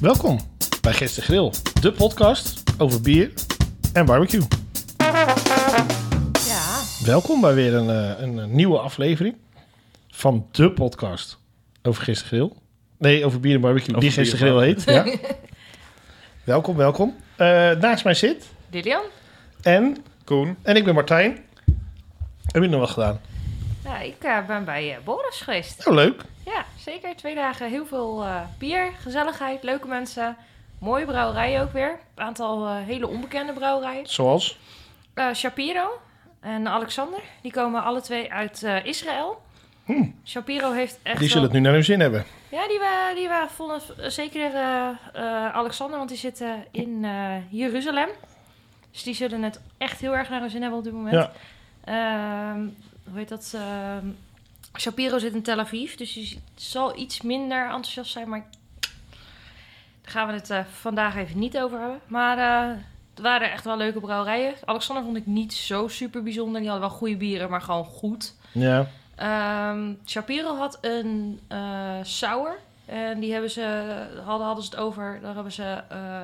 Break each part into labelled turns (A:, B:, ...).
A: Welkom bij Gisteren Grill, de podcast over bier en barbecue.
B: Ja,
A: Welkom bij weer een, eh, een, eh, nieuwe aflevering van de podcast over Gisteren Grill. Nee, over bier en barbecue, die
C: bier en
A: Gisteren Grill heet. Ja. welkom, welkom. Eh, naast mij zit
B: Lilian?
A: en,
C: Koen.
A: en ik ben Martijn. Heb je nog wat gedaan?
B: Nou, ik eh, ben bij eh, Boris geweest.
A: Nou, leuk.
B: Ja, zeker. Twee dagen heel veel eh, bier, gezelligheid, leuke mensen. Mooie brouwerijen ook weer. Een aantal eh, hele onbekende brouwerijen.
A: Zoals?
B: Eh, Shapiro en Alexander, die komen alle twee uit eh, Israël. Shapiro heeft echt
A: Hmm. Die zullen
B: wel-
A: het nu naar hun zin hebben.
B: Ja, die, wa- die waren vonden zeker eh, eh, Alexander, want die zitten in eh, Jeruzalem. Dus die zullen het echt heel erg naar hun zin hebben op dit moment.
A: Ja.
B: Ehm, hoe heet dat? Ehm, Shapiro zit in Tel Aviv, dus die zal iets minder enthousiast zijn, maar daar gaan we het eh, vandaag even niet over hebben. Maar eh het waren echt wel leuke brouwerijen. Alexander vond ik niet zo super bijzonder. Die hadden wel goede bieren, maar gewoon goed.
A: Ja.
B: Ehm, Shapiro had een eh sour. En die hebben ze, hadden, hadden ze het over. Daar hebben ze eh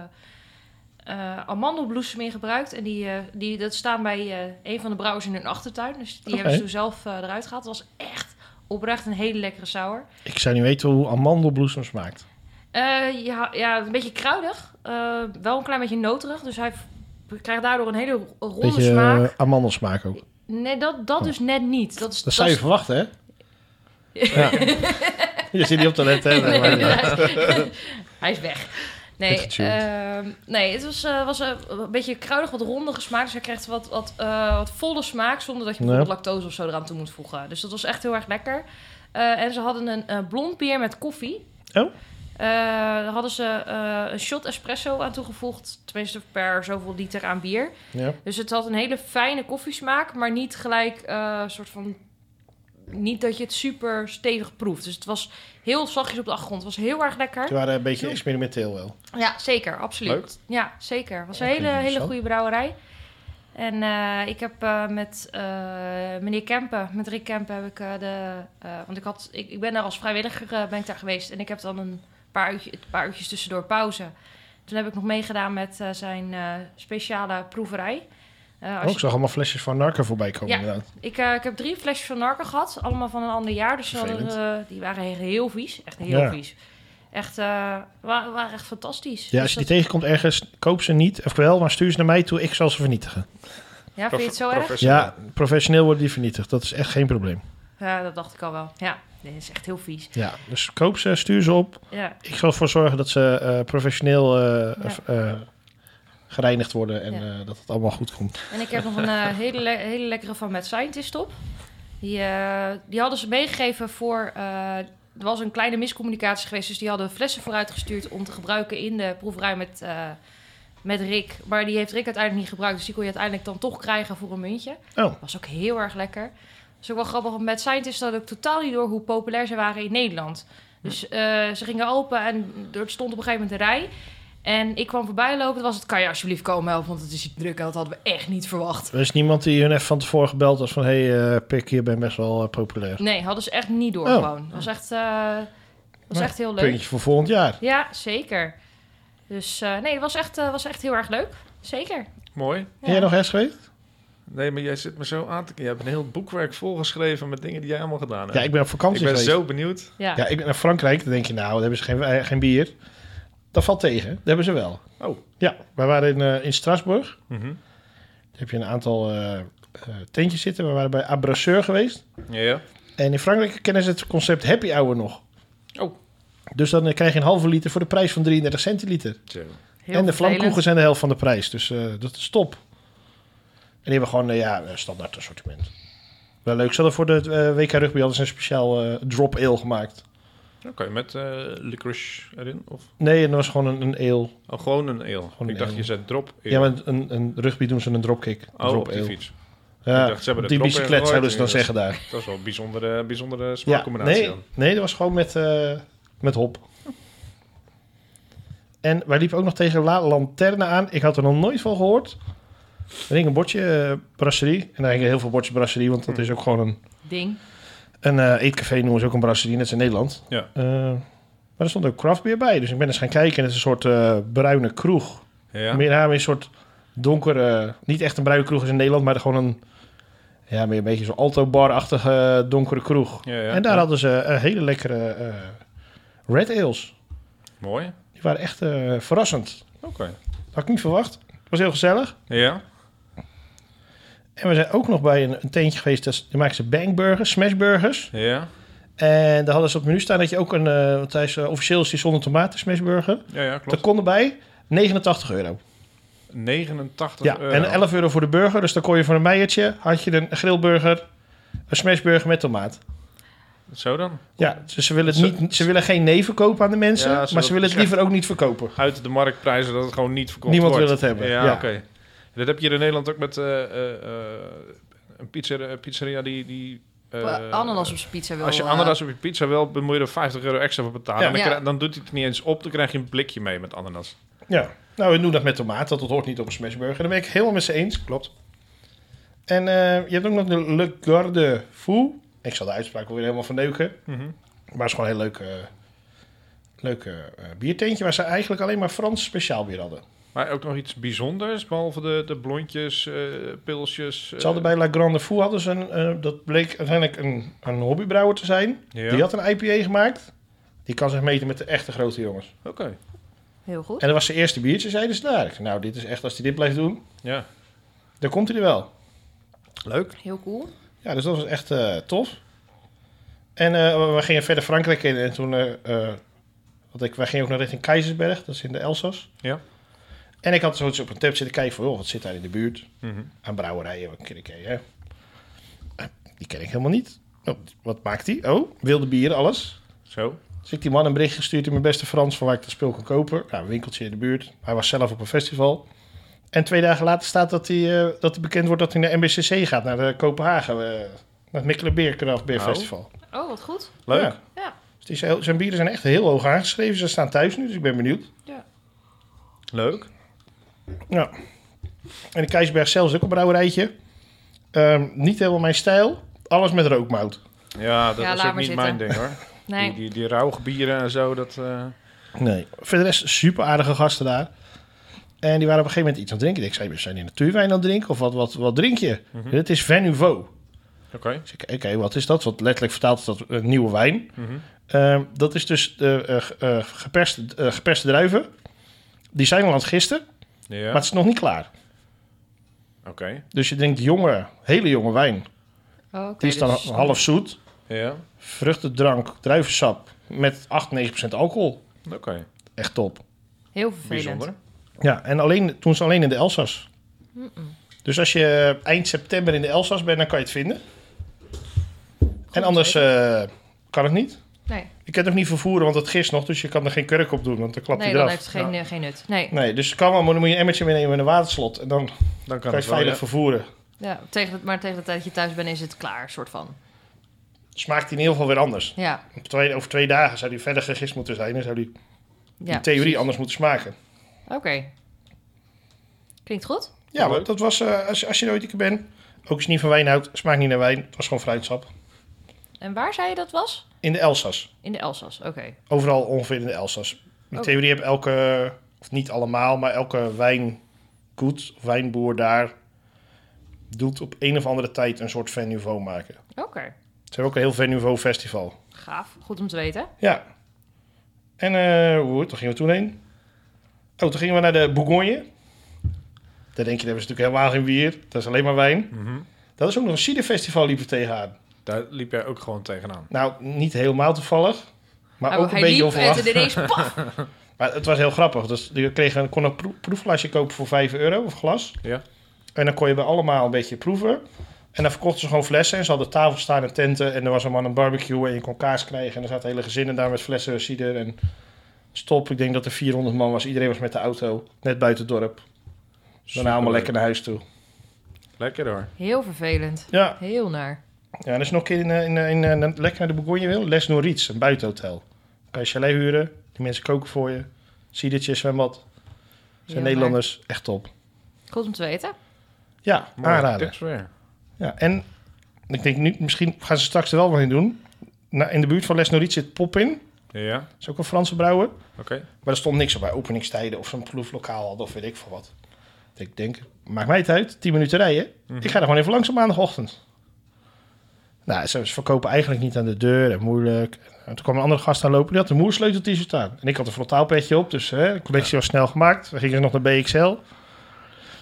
B: eh, amandelbloesem in gebruikt. En die, eh, die, dat staan bij eh, een van de brouwers in hun achtertuin. Dus die
A: Oké.
B: hebben ze toen zelf eh, eruit gehaald. Het was echt oprecht een hele lekkere sour.
A: Ik zou niet weten hoe amandelbloesem smaakt.
B: Eh, ja, ja, een beetje kruidig. Eh, wel een klein beetje noterig. Dus hij v- krijgt daardoor een hele ro- ronde
A: Beetje
B: smaak.
A: eh, oh. amandelsmaak ook.
B: Nee, dat, dat dus net niet. Dat is,
A: Dat zou je
B: is-
A: verwachten, hè? Ja. je zit niet op te letten, hè?
B: Nee,
A: Maar, eh, ja.
B: inderdaad. Hij is weg. Nee,
C: Weggetuned.
B: ehm, nee het was, eh, was eh, een beetje kruidig, wat ronde gesmaakt. Dus hij kreeg wat, wat, eh, wat volle smaak zonder dat je
A: Ja.
B: bijvoorbeeld lactose of zo eraan toe moet voegen. Dus dat was echt heel erg lekker. Eh, en ze hadden een eh, blond bier met koffie.
A: Oh.
B: Eh, daar hadden ze eh, een shot espresso aan toegevoegd. Tenminste, per zoveel liter aan bier.
A: Ja.
B: Dus het had een hele fijne koffiesmaak, maar niet gelijk eh soort van. Niet dat je het super stevig proeft. Dus het was heel zachtjes op de achtergrond. Het was heel erg
A: Ze
B: lekker.
A: waren een beetje experimenteel wel.
B: Ja, zeker, absoluut.
C: Leuk.
B: Ja, zeker. Het was een
A: Oké,
B: hele, hele
A: interessant.
B: goede brouwerij. En eh, ik heb eh, met eh, meneer Kempen, met Rick Kempen, heb ik eh, de. eh, want ik, had, ik, ik ben daar als vrijwilliger eh, ben ik daar geweest. En ik heb dan een paar, uurtje, een paar uurtjes tussendoor pauze. Toen heb ik nog meegedaan met eh, zijn eh, speciale proeverij. Eh,
A: Oh, ik zag allemaal flesjes van Narca voorbij komen,
B: Ja.
A: inderdaad.
B: Ik, eh, ik heb drie flesjes van Narken gehad, allemaal van een ander jaar. Dus ze hadden, eh, die waren heel, heel vies. Echt heel
A: Ja.
B: vies. Echt, eh, wa- waren echt fantastisch.
A: Ja,
B: Dus
A: als je die
B: dat-
A: tegenkomt ergens, koop ze niet. Of wel, maar stuur ze naar mij toe. Ik zal ze vernietigen.
B: ja, vind je het zo erg?
A: Ja, professioneel worden die vernietigd. Dat is echt geen probleem.
B: Ja, dat dacht ik al wel. Ja, dit is echt heel vies.
A: Ja, dus koop ze, stuur ze op.
B: Ja,
A: Ik zal ervoor zorgen dat ze eh, professioneel eh,
B: Ja.
A: f- eh, gereinigd worden en
B: Ja.
A: eh, dat het allemaal goed komt.
B: en ik heb nog een eh, hele, le- hele lekkere van Mad Scientist op. Die, eh, die hadden ze meegegeven voor... eh, er was een kleine miscommunicatie geweest, dus die hadden flessen vooruit gestuurd om te gebruiken in de proeverij met, eh, met Rick. Maar die heeft Rick uiteindelijk niet gebruikt, dus die kon je uiteindelijk dan toch krijgen voor een muntje.
A: Oh,
B: Was ook heel erg lekker. Dat is ook wel grappig, want Mad Scientist had ook totaal niet door hoe populair ze waren in Nederland. Dus eh, ze gingen open en er stond op een gegeven moment een rij. En ik kwam voorbij lopen, toen was het, kan je alsjeblieft komen helpen, want het is hier druk en dat hadden we echt niet verwacht.
A: er is niemand die hun even van tevoren gebeld was van... hé, hey, eh, Pik, je bent best wel eh, populair.
B: Nee, hadden ze echt niet door
A: Oh.
B: gewoon. Het was echt, eh, was
A: Ja,
B: echt heel leuk.
A: Puntje voor volgend jaar.
B: Ja, zeker. Dus eh, nee, het was echt, eh, was echt heel erg leuk. Zeker.
C: Mooi.
A: Ben jij nog ergens geweest?
C: Nee, maar jij zit me zo aan te... Je hebt een heel boekwerk volgeschreven met dingen die jij allemaal gedaan hebt.
A: Ja, ik ben op vakantie
C: Ik ben
A: geweest.
C: zo benieuwd.
B: Ja.
A: Ja, ik ben naar Frankrijk. Dan denk je, nou, daar hebben ze geen, eh, geen bier. Dat valt tegen. Dat hebben ze wel.
C: Oh.
A: Ja, wij waren in, eh, in Straatsburg.
C: Mhm.
A: Daar heb je een aantal eh, eh, tentjes zitten. We waren bij Abrasseur geweest.
C: Ja, ja.
A: En in Frankrijk kennen ze het concept happy hour nog.
C: Oh.
A: Dus dan eh, krijg je een halve liter voor de prijs van 33 centiliter.
C: Zo.
B: Heel
A: en de
B: vervelend.
A: vlamkoeken zijn de helft van de prijs. Dus eh, dat is top. En die hebben gewoon, eh, ja, eh, standaard assortiment. Wel leuk. Ze hadden voor de eh, WK Rugby hadden ze een speciaal eh, drop ale gemaakt.
C: Oké, met eh licorice erin? Of?
A: Nee, en dat was gewoon een, een ale.
C: Oh, gewoon een eel.
A: Gewoon
C: ik
A: een
C: dacht,
A: ale.
C: je zet drop ale.
A: Ja, maar een, een rugby doen ze een dropkick. Een
C: Oh,
A: drop
C: op die
A: ale.
C: fiets.
A: Ja,
C: Ik dacht, ze hebben
A: op
C: de
A: die
C: drop
A: bicyclet
C: ale
A: zouden ze dan
C: nooit
A: zeggen daar.
C: Dat is wel een bijzondere, bijzondere
A: Ja,
C: smaakcombinatie
A: nee,
C: dan.
A: nee, dat was gewoon met, eh, met hop. En wij liepen ook nog tegen La Lanterne aan. Ik had er nog nooit van gehoord. Er hing een bordje eh, brasserie. En daar hingen heel veel bordjes brasserie, want dat
C: Hmm.
A: is ook gewoon een...
B: Ding.
A: Een eh, eetcafé noemen ze ook een brasserie, net als in Nederland.
C: Ja.
A: Eh, Maar er stond ook craft beer bij. Dus ik ben eens gaan kijken. En het is een soort eh, bruine kroeg.
C: Ja.
A: Meer naam is een soort donkere... Niet echt een bruine kroeg als in Nederland, maar gewoon een... Ja, meer een beetje zo'n alto-bar-achtige eh, donkere kroeg.
C: Ja, ja,
A: en daar
C: ja.
A: hadden ze eh, hele lekkere eh, red ales.
C: Mooi.
A: Die waren echt eh, verrassend.
C: Oké.
A: Had ik niet verwacht. Het was heel gezellig.
C: Ja.
A: En we zijn ook nog bij een, een teentje geweest. dat is- Die maken ze bangburgers, smashburgers.
C: Ja.
A: En daar hadden ze op het menu staan dat je ook een... eh want hij is, eh, officieel is die zonder tomaten smashburger.
C: Ja, ja,
A: Dat
C: klopt.
A: kon erbij 89 euro.
C: 89
A: Ja,
C: euro.
A: en 11 euro voor de burger. Dus dan kon je voor een meiertje, had je een grillburger, een smashburger met tomaat.
C: Zo dan.
A: Ja, dus ze willen,
C: Zo-
A: het niet, ze willen geen nee verkopen aan de mensen,
C: Ja, zo-
A: maar ze willen het
C: ja.
A: liever ook niet verkopen.
C: Uit de marktprijzen dat het gewoon niet verkocht
A: Niemand
C: wordt.
A: wil het hebben.
C: Ja,
A: Ja.
C: oké. Dat heb je hier in Nederland ook met eh, eh, eh, een pizzeria, een pizzeria die... die eh,
B: ananas op zijn pizza wil.
C: Als je
B: eh,
C: ananas op je pizza wil, dan moet je er 50 euro extra voor betalen.
A: Ja.
C: En dan,
B: Ja.
C: krijg- dan doet hij het niet eens op, dan krijg je een blikje mee met ananas.
A: Ja, nou, we doen dat met tomaat, dat hoort niet op een smashburger. Daar ben ik helemaal met ze eens, klopt. En eh, je hebt ook nog de Le Garde Fou. Ik zal de uitspraak wel weer helemaal verneuken.
C: Mhm.
A: Maar het is gewoon een heel leuk, eh, leuk eh, bierteentje waar ze eigenlijk alleen maar Frans speciaal bier hadden.
C: Maar ook nog iets bijzonders, behalve de, de blondjes, eh, pilsjes. eh,
A: Ze hadden bij La Grande Fou hadden ze een, eh, dat bleek uiteindelijk een, een hobbybrouwer te zijn.
C: Ja.
A: Die had een IPA gemaakt. Die kan zich meten met de echte grote jongens.
C: Oké,
B: Heel goed.
A: En dat was zijn eerste biertje, zeiden ze daar. Ik zei, Nou, dit is echt, als hij dit blijft doen,
C: ja.
A: dan komt hij er wel.
C: Leuk.
B: Heel cool.
A: Ja, dus dat was echt eh, tof. En eh, we- we gingen verder Frankrijk in. En toen, eh, eh, want ik, wij gingen ook naar richting Keizersberg, dat is in de Elzas.
C: Ja.
A: En ik had zoiets op een tab zitten kijken van, joh, wat zit daar in de buurt?
C: Mhm.
A: aan brouwerijen. Wat ken ik, hè? Eh, Die ken ik helemaal niet. Oh, wat maakt die? Oh, wilde bier, alles.
C: Zo.
A: Dus ik die man een bericht gestuurd in mijn beste Frans van waar ik dat spul kon kopen. Nou, een winkeltje in de buurt. Hij was zelf op een festival. En twee dagen later staat dat hij, eh, dat hij bekend wordt dat hij naar MBCC gaat, naar de Kopenhagen. eh, naar het Mikkelenbeer Craft Beer
C: Oh.
A: Festival.
B: Oh, wat goed.
C: Leuk.
A: Ja.
B: Ja.
A: Dus die zijn, zijn bieren zijn echt heel hoog aangeschreven. Ze staan thuis nu, dus ik ben benieuwd.
C: Leuk.
A: Ja. En de Keisberg zelf is ook een brouwerijtje. Ehm, niet helemaal mijn stijl. Alles met rookmout.
C: Ja, dat
B: Ja,
C: is
B: laat
C: ook
B: maar
C: niet
B: zitten.
C: mijn ding hoor.
B: Nee.
C: Die, die, die rauwe bieren en zo, dat... eh,
A: Nee. Voor de rest super aardige gasten daar. En die waren op een gegeven moment iets aan het drinken. Ik zei, we zijn die natuurwijn aan het drinken? Of wat, wat, wat drink je?
C: Mhm.
A: Dit is Venuvo.
C: Oké.
A: Dus ik, oké, wat is dat? Wat letterlijk vertaald is dat een nieuwe wijn.
C: Mhm.
A: Ehm, dat is dus de eh, ge- eh, geperste, eh, geperste druiven. Die zijn al aan het gisten,
C: Ja,
A: maar het is nog niet klaar.
C: oké.
A: Dus je drinkt jonge, hele jonge wijn.
B: Oh, oké,
A: Die is dan
B: dus-
A: half zoet.
C: Ja,
A: vruchtendrank, druivensap met 8, 9% alcohol.
C: oké.
A: Echt top.
B: Heel vervelend.
C: Bijzonder.
A: Ja, en alleen, toen ze alleen in de Elzas.
B: Mm-mm.
A: Dus als je eind september in de Elzas bent, dan kan je het vinden. en
B: Goed,
A: anders
B: zeker.
A: eh, kan het niet.
B: nee,
A: Je kan het ook niet vervoeren, want het gist nog, dus je kan er geen kurk op doen, want dan klapt
B: nee
A: hij
B: dan
A: eraf.
B: heeft het geen, eh, geen nut. Nee.
A: Nee, dus het kan wel, maar dan moet je een emmertje meenemen in een waterslot en dan kan,
C: Dan kan
A: je
C: het
A: het
C: wel,
A: veilig
C: ja.
A: vervoeren.
B: Ja, tegen het, maar tegen de tijd dat je thuis bent is het klaar, soort van.
A: Smaakt Dus hij in ieder geval weer anders.
B: Ja.
A: Op twee- over twee dagen zou die verder gegist moeten zijn en zou die
B: ja
A: in theorie
B: precies.
A: anders moeten smaken.
B: Oké. Klinkt goed.
A: Ja,
C: Leuk.
A: maar dat was, eh, als, als je nooit ik bent, ook als je niet van wijn houdt, smaakt niet naar wijn. Het was gewoon fruitsap.
B: En waar zei je dat was?
A: In de Elzas.
B: In de Elzas, oké.
A: Overal ongeveer in de Elzas. In
B: Oh.
A: theorie heb elke, of niet allemaal, maar elke wijnkoet, of wijnboer daar, doet op een of andere tijd een soort Venuveau maken.
B: Oké,
A: Ze hebben ook een heel Venuveau festival.
B: gaaf. Goed om te weten.
A: Ja. En eh hoe, toen gingen we toen heen. Oh, toen gingen we naar de Bourgogne. Daar denk je, daar hebben ze natuurlijk helemaal geen bier. Dat is alleen maar wijn.
C: Mhm.
A: Dat is ook nog een ciderfestival liepen we tegenaan.
C: Daar liep jij ook gewoon tegenaan.
A: Nou, niet helemaal toevallig. Maar
B: Nou,
A: ook een
B: hij
A: beetje
B: liep en
A: onverwacht.
B: toen ineens, paf!
A: Maar het was heel grappig. Dus je kreeg een, kon een proe- proefglasje kopen voor 5 euro of glas.
C: Ja.
A: En dan kon je bij allemaal een beetje proeven. En dan verkochten ze gewoon flessen. En ze hadden tafels staan en tenten. En er was een man een barbecue en je kon kaas krijgen. En er zaten hele gezinnen daar met flessen cider en stop. Ik denk dat er 400 man was. Iedereen was met de auto. Net buiten het dorp. Daarna allemaal
C: Superleuk.
A: lekker naar huis toe.
C: Lekker hoor.
B: Heel vervelend.
A: Ja,
B: Heel naar.
A: ja en als je nog een keer in, eh, in, eh, in, eh, lekker naar de Bourgogne wil. Les Noritz, een buitenhotel. Kan je chalet huren. Die mensen koken voor je. Cidertje, zwembad.
B: Heel
A: Zijn
B: naar.
A: Nederlanders echt top.
B: Goed om te weten.
A: Ja,
C: Mooi.
A: aanraden.
C: Tips weer.
A: Ja, en ik denk nu, misschien gaan ze straks er wel wat in doen. Na, in de buurt van Les Norit zit Pop in.
C: Ja,
A: Dat is ook een Franse brouwer.
C: oké.
A: Maar er stond niks op bij openingstijden of zo'n proeflokaal had of weet ik veel wat. Dus ik denk, maakt mij het uit, 10 minuten rijden.
C: Mhm.
A: Ik ga er gewoon even langs op maandagochtend. Nou, ze ze verkopen eigenlijk niet aan de deur en moeilijk. En toen kwam een andere gast aanlopen, die had een moersleutel t-shirt aan. En ik had een frontaalpetje op, dus hè, de collectie was snel gemaakt. We gingen ze nog naar BXL.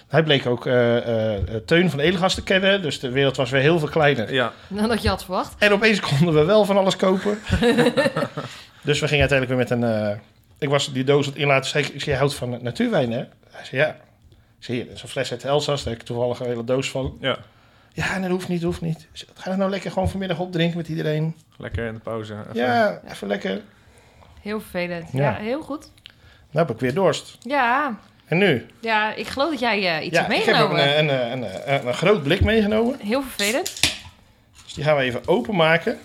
A: Hij bleek ook eh, eh, eh, Teun van Edelgast te kennen, dus de wereld was weer heel veel kleiner.
C: Ja,
B: Dan dat je had verwacht.
A: En opeens konden we wel van alles kopen. dus we gingen uiteindelijk weer met een... eh, ik was die doos aan het inlaten. Zei, ik, ik zei, je houdt van natuurwijn, hè? Hij zei, ja. Ik zei, hier, dat is een fles uit Elsass. Daar heb ik toevallig een hele doos van.
C: ja.
A: Ja, nee, dat hoeft niet, dat hoeft niet. Ik zei, Ga dat nou lekker gewoon vanmiddag opdrinken met iedereen?
C: Lekker in de pauze. Even.
A: Ja, even lekker.
B: Heel vervelend.
A: Ja.
B: Ja, heel goed.
A: Nou heb ik weer dorst.
B: Ja,
A: En nu?
B: ja ik geloof dat jij eh, iets
A: ja,
B: hebt
A: ik heb een,
B: meegenomen.
A: eh, een, eh, een, eh, een, een groot blik meegenomen.
B: Heel vervelend.
A: Dus die gaan we even openmaken.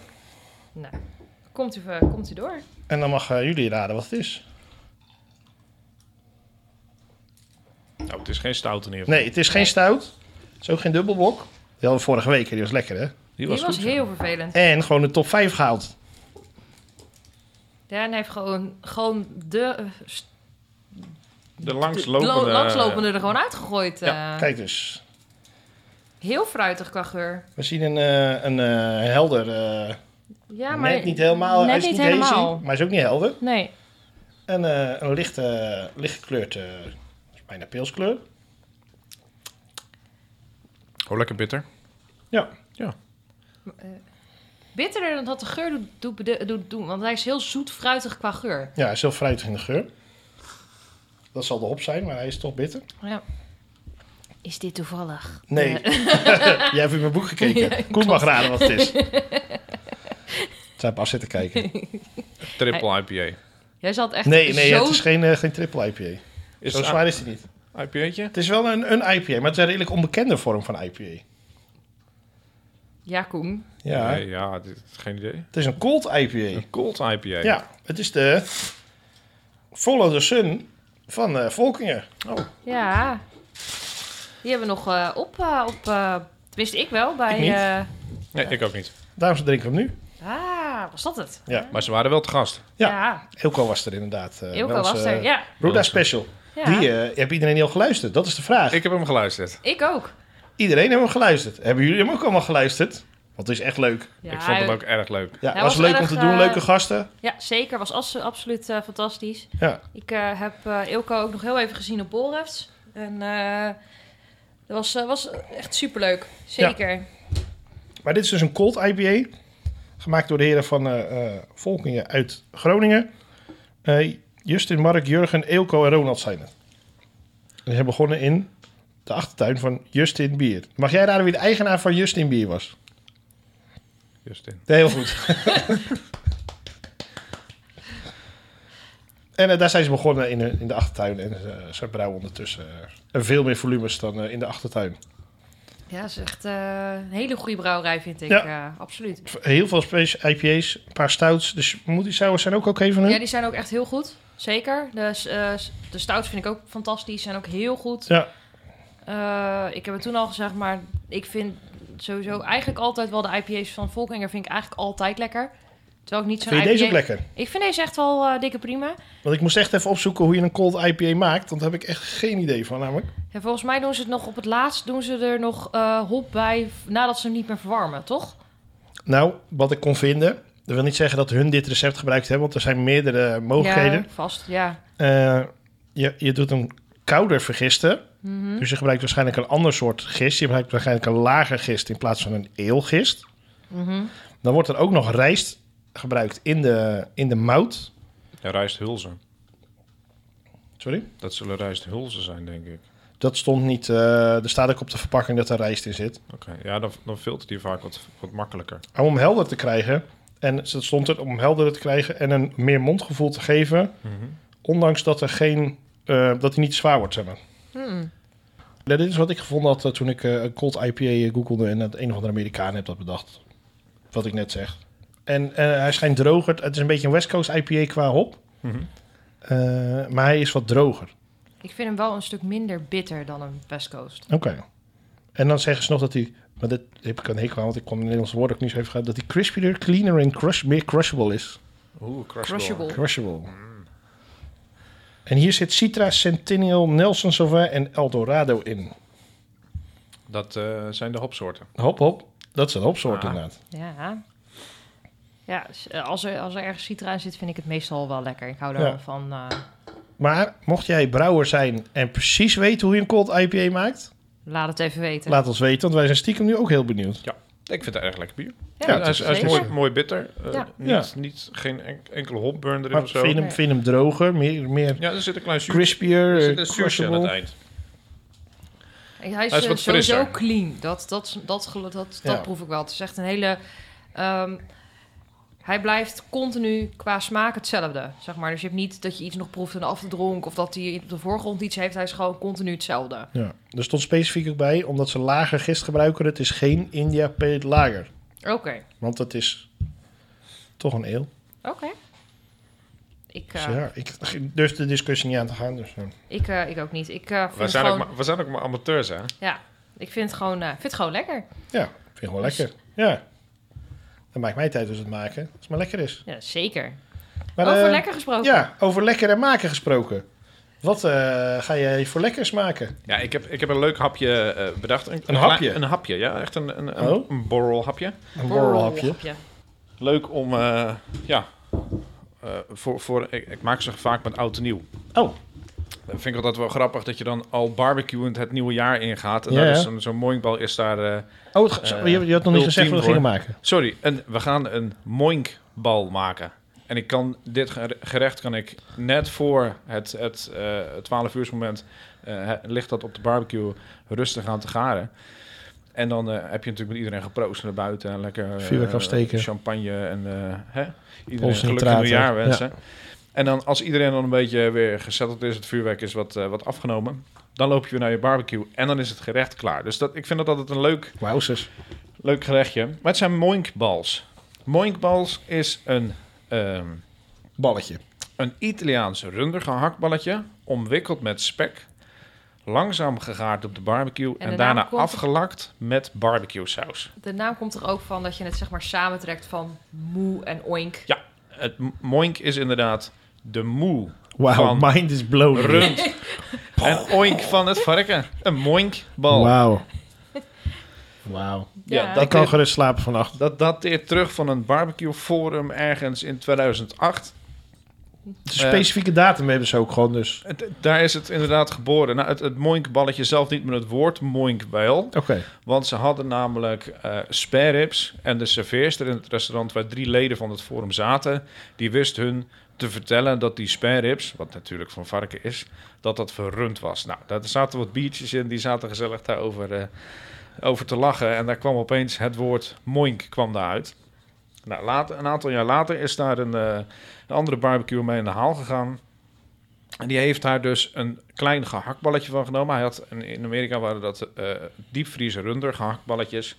B: Nou, komt u, eh, komt u door.
A: En dan mag eh, jullie raden wat het is.
C: Nou, het is geen stout in ieder geval.
A: Nee, het is geen stout. Het is ook geen dubbelbok. Die hadden we vorige week. hè? Die was lekker, hè?
B: Die
C: Die
B: was,
C: was, goed,
B: heel vervelend.
A: En gewoon de top 5 gehaald.
B: Ja, en hij heeft gewoon, gewoon de, eh, st-
C: ja. De langslopende...
B: lo- langslopende er gewoon uitgegooid.
C: Ja,
B: eh.
A: Kijk dus.
B: heel fruitig qua geur.
A: We zien een, eh, een eh, helder. eh,
B: Ja, maar
A: net niet helemaal. hij is
B: net
A: niet
B: niet helemaal.
A: hazy, maar hij is ook niet helder.
B: Nee.
A: En eh, een lichte, licht gekleurd. eh, is bijna pilskleur.
C: Oh, lekker bitter.
B: Bitterder dan dat de geur doet, doet, bede- doet doen. Want hij is heel zoet fruitig qua geur.
A: Ja, hij is heel fruitig in de geur. Dat zal de hop zijn, maar hij is toch bitter.
B: Ja. Is dit toevallig?
A: Nee.
B: Ja.
A: Jij hebt in mijn boek gekeken. Koen mag raden wat het is. Ik zou pas zitten kijken.
C: Triple IPA.
B: Jij zat echt
A: Nee, nee
B: zo...
A: het is geen, eh, geen triple IPA.
C: Is
A: Zo
C: het
A: zwaar is het niet.
C: een IPA'tje?
A: Het is wel een, een IPA, maar het is een redelijk onbekende vorm van IPA.
B: Ja, Koen.
A: Ja.
C: Nee, ja, dit, geen idee.
A: Het is een cold IPA.
C: Een cold IPA.
A: Ja, het is de Follow the Sun van eh Volkingen.
C: Oh,
B: Ja. Die hebben we nog eh, op... eh, op eh, wist ik wel bij...
A: Ik niet.
B: eh,
C: nee, ik ook niet.
A: Daarom drinken we hem nu.
B: ah, was dat het?
A: Ja.
C: Maar ze waren wel te gast.
A: Ja.
B: ja.
A: Ilko was er inderdaad. eh,
B: Ilko
A: bij ons,
B: was
A: eh,
B: er. Ja.
A: Roda Special.
B: ja.
A: Die eh, heb iedereen die al geluisterd? Dat is de vraag.
C: Ik heb hem geluisterd.
B: Ik ook.
A: Iedereen heeft hem geluisterd. Hebben jullie hem ook allemaal geluisterd? Want het is echt leuk.
B: Ja,
C: ik vond hem
B: hij-
C: ook erg leuk.
A: Ja,
B: Hij
A: was,
B: was
A: leuk om
B: erg,
A: te doen.
B: eh,
A: Leuke gasten.
B: Ja, zeker. Was as- absoluut eh, fantastisch.
A: Ja.
B: Ik eh, heb eh Ilko ook nog heel even gezien op Borrefs. En eh, dat was, eh, was echt superleuk. Zeker.
A: Maar dit is dus een cold IPA. Gemaakt door de heren van eh, eh, Volkingen uit Groningen. Eh, Justin, Mark, Jurgen, Eelco en Ronald zijn het. En ze hebben begonnen in de achtertuin van Justin Bier. Mag jij raden wie de eigenaar van Justin Bier was?
C: Justin.
A: Nee, heel goed. en eh, daar zijn ze begonnen in, de- in de achtertuin. En eh, ze brouwen ondertussen eh, en veel meer volumes dan eh, in de achtertuin.
B: Ja, dat is echt eh, een hele goede brouwerij, vind ik. eh, absoluut.
A: Heel veel special IPA's, een paar stouts. Dus moet die sours zijn ook oké van hun?
B: Ja, die zijn ook echt heel goed. Zeker. De, s- eh, s- de stouts vind ik ook fantastisch. Zijn ook heel goed.
A: Ja.
B: Eh, ik heb het toen al gezegd, maar ik vind sowieso eigenlijk altijd wel de IPA's van Volkinger vind ik eigenlijk altijd lekker. Terwijl ik niet zo'n
A: Vind je deze
B: IPA
A: ook lekker?
B: Ik vind deze echt wel eh, dikke prima.
A: Want ik moest echt even opzoeken hoe je een cold IPA maakt. Want daar heb ik echt geen idee van namelijk.
B: Ja, volgens mij doen ze het nog op het laatst, doen ze er nog eh, hop bij v- nadat ze hem niet meer verwarmen, toch?
A: Nou, wat ik kon vinden. Dat wil niet zeggen dat hun dit recept gebruikt hebben. Want er zijn meerdere mogelijkheden.
B: Ja, vast, ja.
A: Eh, je, je doet hem kouder vergisten.
B: Mhm.
A: Dus je gebruikt waarschijnlijk een ander soort gist. Je gebruikt waarschijnlijk een lager gist in plaats van een eelgist.
B: Mhm.
A: Dan wordt er ook nog rijst gebruikt in de, in de mout.
C: Ja, rijsthulzen.
A: Sorry?
C: Dat zullen rijsthulzen zijn, denk ik.
A: Dat stond niet... eh er staat ook op de verpakking dat er rijst in zit.
C: Oké, ja, dan, dan filtert die vaak wat, wat makkelijker.
A: Maar om hem helder te krijgen... En dat stond er om hem helderder te krijgen en een meer mondgevoel te geven... Ondanks dat er geen. eh, dat hij niet zwaar wordt, zeg maar.
B: Mm.
A: Ja, dit is wat ik gevonden had eh, toen ik eh, een cold IPA googelde en het een of andere Amerikaan heb dat bedacht. Wat ik net zeg. En eh, hij schijnt droger. Het is een beetje een West Coast IPA qua hop.
C: Mhm.
A: Eh, maar hij is wat droger.
B: Ik vind hem wel een stuk minder bitter dan een West Coast.
A: Oké. En dan zeggen ze nog dat hij. Maar dat heb ik een hekel aan, want ik kon het Nederlandse woord ook niet zo even gaan. Dat hij crispier, cleaner en crush, meer crushable is.
C: Oeh, crushable.
B: Crushable.
A: Crushable. En hier zit Citra, Centennial, Nelson Sauvin en Eldorado in.
C: Dat eh, zijn de hopsoorten.
A: Hop, hop. Dat is een hopsoort
C: Ah.
A: inderdaad.
B: Ja. Ja, s- eh, als er, als er ergens citra in zit, vind ik het meestal wel lekker. Ik hou
A: Ja.
B: daar wel van. eh,
A: Maar mocht jij brouwer zijn en precies weten hoe je een cold IPA maakt,
B: laat het even weten.
A: laat ons weten, want wij zijn stiekem nu ook heel benieuwd.
C: Ik vind het eigenlijk lekker bier.
B: ja,
A: Ja,
C: hij is, hij is
B: zeker.
C: mooi, mooi bitter. Eh,
B: Ja.
C: Niet,
A: Ja.
C: niet, geen enk- enkele hopburn erin
A: Maar
C: of zo.
A: vind hem, vind hem droger, meer, meer
C: Ja, er zit een klein zuurtje,
A: crispier,
C: er
A: eh,
C: zit een zuurtje aan het
A: crushable.
C: eind.
B: Ik- Hij is,
C: Hij is
B: eh,
C: wat
B: sowieso
C: frisser.
B: clean. Dat, dat, dat, gelo- dat,
A: Ja.
B: dat proef ik wel. Het is echt een hele... ehm, hij blijft continu qua smaak hetzelfde, zeg maar. Dus je hebt niet dat je iets nog proeft en afdronk... of dat hij op de voorgrond iets heeft. Hij is gewoon continu hetzelfde.
A: Ja. Er stond specifiek ook bij, omdat ze lager gist gebruiken, het is geen India Pale Lager.
B: Oké,
A: Want het is toch een eel.
B: oké. Ik,
A: Dus
B: eh,
A: ja, ik ik durf de discussie niet aan te gaan. Dus, eh.
B: ik, eh, ik ook niet. Ik, eh, vind
C: We
B: het
C: zijn, ook
B: gewoon,
C: maar, we zijn ook maar amateurs, hè?
B: ik vind het gewoon, eh, vind het gewoon lekker.
A: Ja, vind ik wel
B: Dus-
A: lekker. Ja. Dan maakt mij tijd dus het maken. Als het maar lekker is.
B: Ja, zeker.
A: Maar,
B: Over
A: eh,
B: lekker gesproken.
A: Ja, over lekker en maken gesproken. Wat eh, ga jij voor lekkers maken?
C: Ja, ik heb, ik heb een leuk hapje eh, bedacht. Een, klein-
A: hapje?
C: Een hapje, ja. Echt een, een, een,
A: Oh.
C: een borrelhapje.
A: Een
B: borrelhapje.
A: borrelhapje.
C: Leuk om, eh, ja, eh, voor, voor, ik, ik maak ze vaak met oud en nieuw.
A: Oh,
C: Dat vind ik altijd wel grappig dat je dan al barbecuend het nieuwe jaar ingaat. En
A: Ja,
C: daar
A: ja.
C: is zo'n zo'n mooinkbal is daar... eh,
A: oh het ga- zo, je, je had nog niet
C: Eh,
A: gezegd wat we
C: ultiem,
A: gingen maken.
C: sorry, een, we gaan een mooinkbal maken. En ik kan dit gere- gerecht kan ik net voor het, het eh 12 uur moment eh, he- ligt dat op de barbecue rustig aan te garen. En dan eh, heb je natuurlijk met iedereen geproost naar buiten en lekker eh,
A: Vuurwerk afsteken.
C: champagne en eh hè? iedereen
A: Pols
C: een gelukkig
A: nitraten,
C: nieuwjaar wensen. En dan als iedereen dan een beetje weer gezetteld is, het vuurwerk is wat, eh, wat afgenomen, dan loop je weer naar je barbecue en dan is het gerecht klaar. Dus dat, ik vind dat altijd een leuk
A: Wauwzers.
C: Leuk gerechtje. Maar het zijn moinkbals. Moinkbals is een, ehm,
A: Balletje.
C: een Italiaans rundige hakballetje, omwikkeld met spek, langzaam gegaard op de barbecue en,
B: de
C: daarna
B: naam komt-
C: afgelakt met barbecue saus.
B: De naam komt er ook van dat je het zeg maar samentrekt van moe en oink.
C: Het m- moink is inderdaad de moe
A: Wauw,
C: Van
A: mind is blown.
C: rund en oink van het varken. Een moinkbal.
A: Wauw. Wauw.
C: Ja,
B: Ja.
C: dat
A: Ik kan
C: dit-
A: gerust slapen vannacht.
C: Dat dateert terug van een barbecue forum ergens in 2008.
A: De
C: Eh.
A: specifieke datum hebben ze ook gewoon, dus...
C: Het- daar is het inderdaad geboren. Nou, het, het moinkballetje zelf niet, maar het woord moink wel.
A: Oké.
C: Want ze hadden namelijk eh spare ribs. En de serveerster in het restaurant waar drie leden van het forum zaten... die wist hun te vertellen dat die spare ribs, wat natuurlijk van varken is... dat dat verrund was. Nou, daar zaten wat biertjes in. Die zaten gezellig daarover eh, over te lachen. En daar kwam opeens het woord moink kwam daaruit. Nou, later, een aantal jaar later is daar een, eh, een andere barbecue mee in de haal gegaan... En die heeft daar dus een klein gehaktballetje van genomen. Hij had, een- in Amerika waren dat eh diepvries runder gehaktballetjes.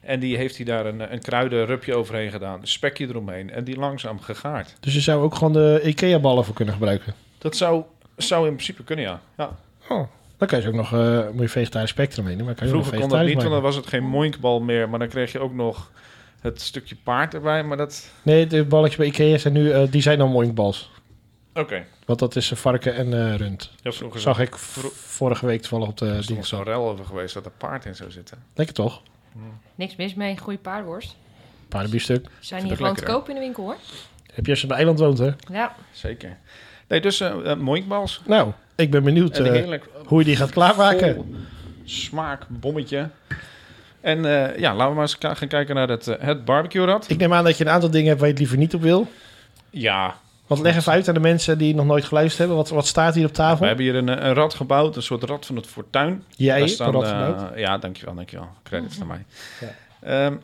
C: En die heeft hij daar een, een kruidenrupje overheen gedaan. Een spekje eromheen. En die langzaam gegaard.
A: Dus je zou ook gewoon de IKEA-ballen voor kunnen gebruiken.
C: Dat zou, zou in principe kunnen, ja. ja.
A: Oh. Dan kan je ze ook nog... eh moet je vegetarisch spectrum heen doen, maar kan je ook nog
C: Vroeger kon dat
A: vegetarisch
C: niet, want dan
A: maken.
C: was het geen moinkbal meer. Maar dan kreeg je ook nog het stukje paard erbij. Maar dat...
A: Nee, de balletjes bij IKEA zijn nu... eh, die zijn dan moinkbals.
C: Oké.
A: Want dat is eh, varken en eh, rund.
C: Ja, vroeger
A: Zag ik v- vorige week toevallig op de
C: is er nog
A: dinsdag.
C: zo'n rel over geweest dat er paard in zou zitten.
A: Lekker toch?
B: Niks mis mee, goede paardworst.
A: Paardenbiefstuk.
B: Zijn
C: vind
B: hier
C: het
B: gewoon te
C: lekkerder.
B: koop in de winkel hoor.
A: Heb je als je op een eiland woont, hè?
B: Ja,
C: Zeker. Nee, dus eh eh, moinkbals.
A: Nou, ik ben benieuwd
C: En
A: eh,
C: heerlijk
A: hoe je die gaat klaarmaken.
C: Vol smaakbommetje. En eh, ja, laten we maar eens ka- gaan kijken naar het, eh, het barbecue-rad.
A: Ik neem aan dat je een aantal dingen hebt waar je het liever niet op wil.
C: Ja,
A: Want leg even uit aan de mensen die nog nooit geluisterd hebben. Wat, wat staat hier op tafel?
C: we hebben hier een, eh, een rad gebouwd, een soort rad van het fortuin.
A: Jij
C: Daar
A: hebt een rad
C: eh,
A: gebouwd.
C: ja, dankjewel, dankjewel. Credits naar mij. Ehm,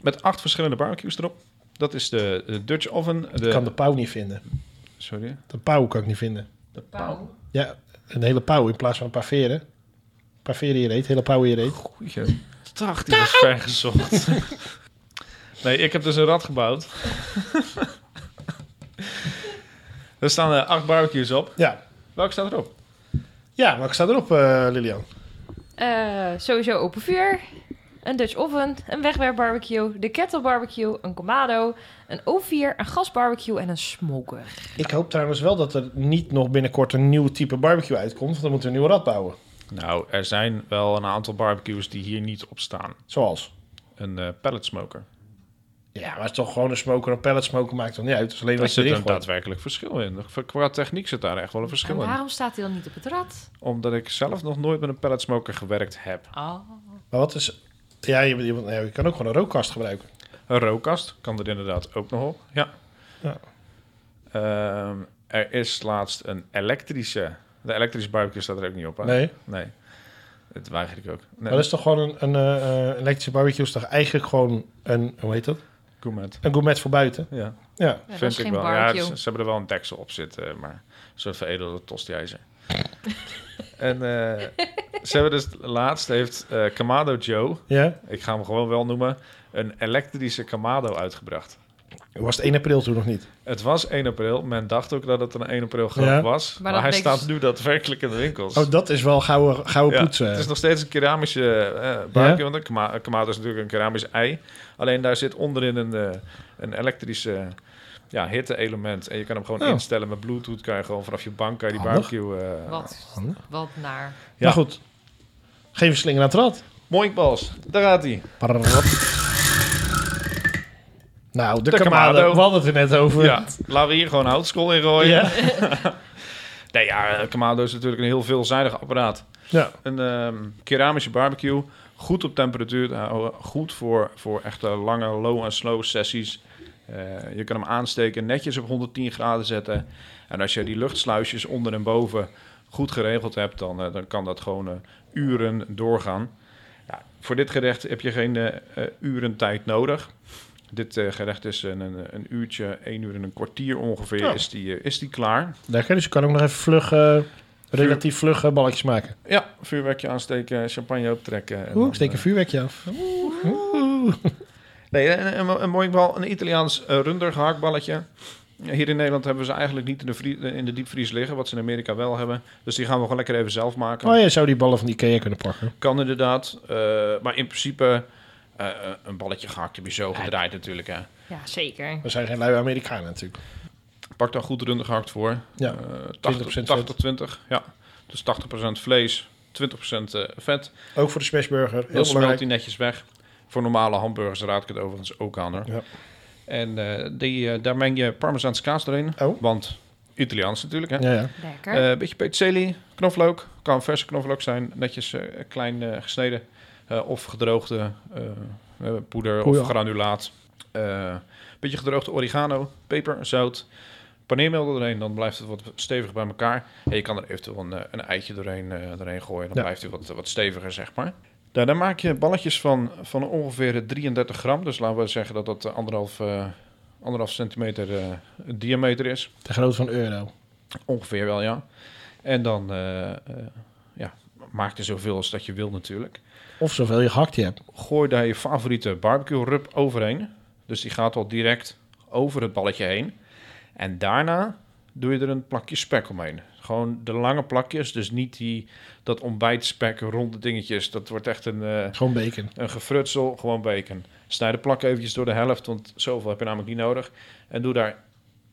C: met acht verschillende barbecues erop. Dat is de, de Dutch oven. De,
A: Ik kan de pauw niet vinden.
C: Sorry.
A: De pauw kan ik niet vinden.
C: De pauw.
B: pauw.
A: Ja, een hele pauw in plaats van een paar veren. Een paar veren hier eet, hele pauw hier eet.
C: Goeie. Dacht, die was vergezocht. nee, ik heb dus een rad gebouwd. er staan eh, acht barbecues op.
A: Ja,
C: Welke staat erop?
A: ja maar ik sta erop, eh, Lilian.
B: Eh, sowieso open vuur. een Dutch oven, een wegwerpbarbecue, de kettlebarbecue, een komado, een O4, een gasbarbecue en een smoker.
A: Ik hoop trouwens wel dat er niet nog binnenkort een nieuw type barbecue uitkomt. Want dan moeten we een nieuwe rad bouwen.
C: Nou, er zijn wel een aantal barbecues die hier niet op staan.
A: Zoals.
C: Een eh pellet smoker.
A: Ja, maar het is toch gewoon een smoker. Een pellet smoker maakt toch niet uit. Het is alleen
C: Daar
A: wat je
C: zit
A: erin
C: een
A: gooit.
C: daadwerkelijk verschil in. Qua techniek zit daar echt wel een
B: En
C: verschil in.
B: waarom staat hij dan niet op het rad?
C: Omdat ik zelf nog nooit met een pellet smoker gewerkt heb.
B: Oh.
A: Maar wat is... Ja, je, je, ja, je kan ook gewoon een rookkast gebruiken.
C: Een rookkast kan er inderdaad ook nog op. Ja.
A: Ja.
C: Ehm, er is laatst een elektrische. De elektrische barbecue staat er ook niet op. hè?
A: Nee.
C: Nee. Dat weiger ik ook. Nee.
A: Maar dat is toch gewoon een, een eh, eh, elektrische barbecue. Is toch eigenlijk gewoon een... Hoe heet dat?
C: gourmet.
A: Een gourmet voor buiten.
C: Ja,
A: Ja.
B: Ja, dat
C: vind
B: is
C: ik
B: geen
C: wel.
B: barbecue.
C: Ja, ze, ze hebben er wel een deksel op zitten, eh, maar zo'n veredelde tostijzer. en eh, ze hebben dus laatst heeft eh Kamado Joe,
A: Ja.
C: ik ga hem gewoon wel noemen, een elektrische Kamado uitgebracht.
A: Was het 1 april toen nog niet?
C: Het was 1 april. Men dacht ook dat het een 1 april grap
A: Ja.
C: was. Maar,
B: dat
C: hij
B: bleek
C: staat
B: dus-
C: nu daadwerkelijk in de winkels.
A: Oh, dat is wel gouden, gouden eh.
C: Ja,
A: poetsen.
C: Het is nog steeds een keramische eh barbecue. Want een kama- een kamado is natuurlijk een keramisch ei. Alleen daar zit onderin een, eh, een elektrische ja, hitte-element. En je kan hem gewoon
A: Oh.
C: instellen met bluetooth. Kan je gewoon vanaf je bank kan je die
A: Handig.
C: barbecue... eh
B: Wat,
A: handig.
B: wat naar.
C: Ja.
A: Maar goed. Geef een slinger aan het rad.
C: Moinkbals, daar gaat hij.
A: Parararap. Nou, de,
C: De
A: kamade.
C: kamado.
A: We hadden het er net over.
C: Ja, laten we hier gewoon houtskool in gooien.
A: Oh, Ja.
C: Nee, ja, een kamado is natuurlijk een heel veelzijdig apparaat.
A: Ja.
C: Een ehm, keramische barbecue. Goed op temperatuur te houden. Goed voor, voor echte lange low en slow sessies. Eh, je kan hem aansteken, netjes op 110 graden zetten. En als je die luchtsluisjes onder en boven goed geregeld hebt, dan, eh, dan kan dat gewoon eh, uren doorgaan. Ja, voor dit gerecht heb je geen eh, eh, uren tijd nodig. Dit eh, gerecht is een, een, een uurtje, één uur en een kwartier ongeveer,
A: Ja.
C: is, die, eh, is die klaar.
A: Lekker, dus je kan ook nog even vlug, eh, relatief vlug eh, balletjes maken.
C: Ja, vuurwerkje aansteken, champagne optrekken. en
A: Oeh,
C: dan,
A: ik steek een
C: eh,
A: vuurwerkje af. Oeh.
C: Nee, een, een, een mooi bal, een Italiaans eh, runder gehaktballetje. Hier in Nederland hebben we ze eigenlijk niet in de, vrie- in de diepvries liggen, wat ze in Amerika wel hebben. Dus die gaan we gewoon lekker even zelf maken.
A: Oh, je zou die ballen van Ikea kunnen pakken.
C: Kan inderdaad, eh, maar in principe eh, eh, een balletje gehakt heb je zo gedraaid natuurlijk. Hè.
B: Ja, zeker.
A: We zijn geen lui Amerikanen natuurlijk.
C: Pak daar goed runder gehakt voor.
A: Ja,
C: Eh,
A: 20%
C: 80, 80, 20. Ja, dus 80% vlees, 20% eh, vet.
A: ook voor de smashburger. Heel
C: Dan smelt
A: belangrijk.
C: die netjes weg. Voor normale hamburgers raad ik het overigens ook aan hoor.
A: Ja.
C: En eh, die, eh, daar meng je Parmezaanse kaas erin.
A: Oh.
C: Want Italiaans natuurlijk hè.
A: Ja, ja.
B: Lekker.
C: Een Eh, beetje peterselie, knoflook. Kan verse knoflook zijn, netjes eh, klein eh, gesneden. Eh, of gedroogde eh, eh, poeder
A: Poeder.
C: of granulaat. Eh beetje gedroogde oregano, peper, zout. Paneermeel erdoorheen, dan blijft het wat stevig bij elkaar. En je kan er eventueel een, eh, een eitje doorheen, eh, doorheen gooien. Dan
A: Ja.
C: blijft hij wat, wat steviger, zeg maar. Daarna maak je balletjes van, van ongeveer 33 gram. Dus laten we zeggen dat dat eh, anderhalf, eh, anderhalf centimeter eh, diameter is.
A: De grootte van euro.
C: Ongeveer wel, ja. En dan eh, eh, ja, maak er zoveel als dat je wil natuurlijk.
A: Of zoveel je gehakt je hebt.
C: Gooi daar je favoriete barbecue rub overheen. Dus die gaat al direct over het balletje heen. En daarna doe je er een plakje spek omheen. Gewoon de lange plakjes, dus niet die, dat ontbijtspek, ronde dingetjes. Dat wordt echt een, eh,
A: Gewoon bacon.
C: een gefrutsel, gewoon bacon. Snijd de plak eventjes door de helft, want zoveel heb je namelijk niet nodig. En doe daar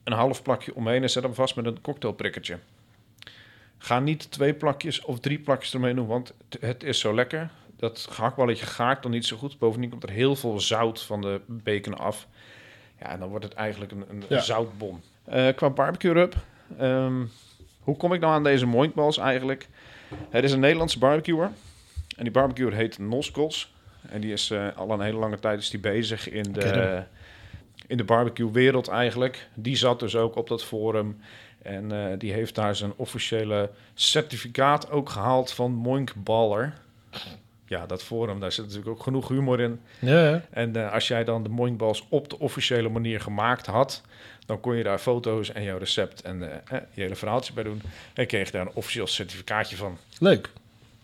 C: een half plakje omheen en zet hem vast met een cocktailprikkertje. Ga niet twee plakjes of drie plakjes ermee doen, want het- het is zo lekker. Dat gehaktballetje gaart dan niet zo goed. Bovendien komt er heel veel zout van de bacon af. Ja, en dan wordt het eigenlijk een, een
A: Ja.
C: zoutbom. Eh, qua barbecue rub, ehm, hoe kom ik nou aan deze moinkbals eigenlijk? Het is een Nederlandse barbecuer. En die barbecuer heet Noskos. En die is eh, al een hele lange tijd is die bezig in
A: Ken
C: de,
A: hem.
C: in de barbecue wereld eigenlijk. Die zat dus ook op dat forum. En eh, die heeft daar zijn officiële certificaat ook gehaald van Moinkballer. Ja, dat forum, daar zit natuurlijk ook genoeg humor in.
A: Ja, ja.
C: En eh, als jij dan de Moinkbals op de officiële manier gemaakt had, dan kon je daar foto's en jouw recept en eh, eh, je hele verhaaltje bij doen. En kreeg je daar een officieel certificaatje van.
A: Leuk.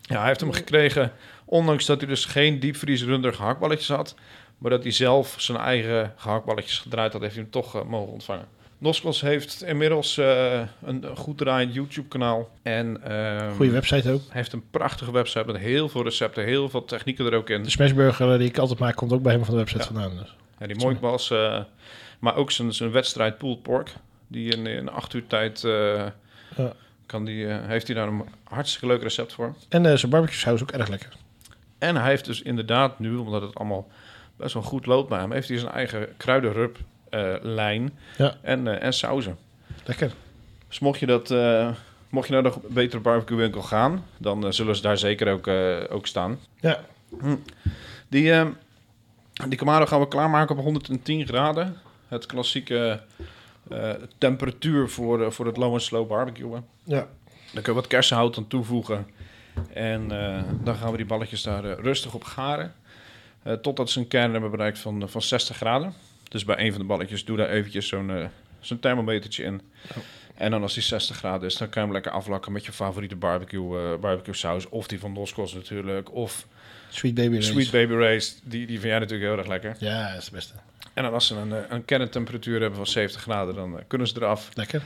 C: Ja, hij heeft hem gekregen, ondanks dat hij dus geen diepvriesrunder gehaktballetjes had. Maar dat hij zelf zijn eigen gehaktballetjes gedraaid had, heeft hij hem toch eh, mogen ontvangen. Noskos heeft inmiddels eh, een, een goed draaiend YouTube-kanaal. En ehm,
A: Goede website ook.
C: hij heeft een prachtige website met heel veel recepten, heel veel technieken er ook in.
A: De smashburger eh, die ik altijd maak, komt ook bij hem van de website
C: Ja.
A: vandaan. Dus.
C: Ja, die mooikbals, eh maar ook zijn, zijn wedstrijd pulled pork, die in, in acht uur tijd eh,
A: Ja.
C: kan die, eh, heeft hij daar een hartstikke leuk recept voor.
A: En eh, zijn barbecue saus ook erg lekker.
C: En hij heeft dus inderdaad nu, omdat het allemaal best wel goed loopt bij hem, heeft hij zijn eigen kruidenrup eh, lijn
A: Ja.
C: en, eh en sauzen.
A: Lekker.
C: Dus mocht je, dat, eh, mocht je naar de betere barbecue winkel gaan, dan eh, zullen ze daar zeker ook, eh, ook staan.
A: Ja.
C: Hm. Die, eh, die Camaro gaan we klaarmaken op 110 graden. Het klassieke eh, temperatuur voor, eh, voor het low en slow barbecuen.
A: Ja.
C: Daar kun je wat kersenhout aan toevoegen. En eh, dan gaan we die balletjes daar eh, rustig op garen. Eh, totdat ze een kern hebben bereikt van, eh, van 60 graden. Dus bij een van de balletjes doe daar eventjes zo'n eh, zo'n thermometertje in. En dan als die 60 graden is, dan kan je hem lekker aflakken met je favoriete barbecue, eh, barbecue saus. Of die van Noskos natuurlijk. Of
A: Sweet baby rings.
C: Sweet Baby Race. Die, die vind jij natuurlijk heel erg lekker.
A: Ja, dat is het beste.
C: En dan als ze een, eh, een kerntemperatuur hebben van 70 graden, dan eh, kunnen ze eraf.
A: Lekker.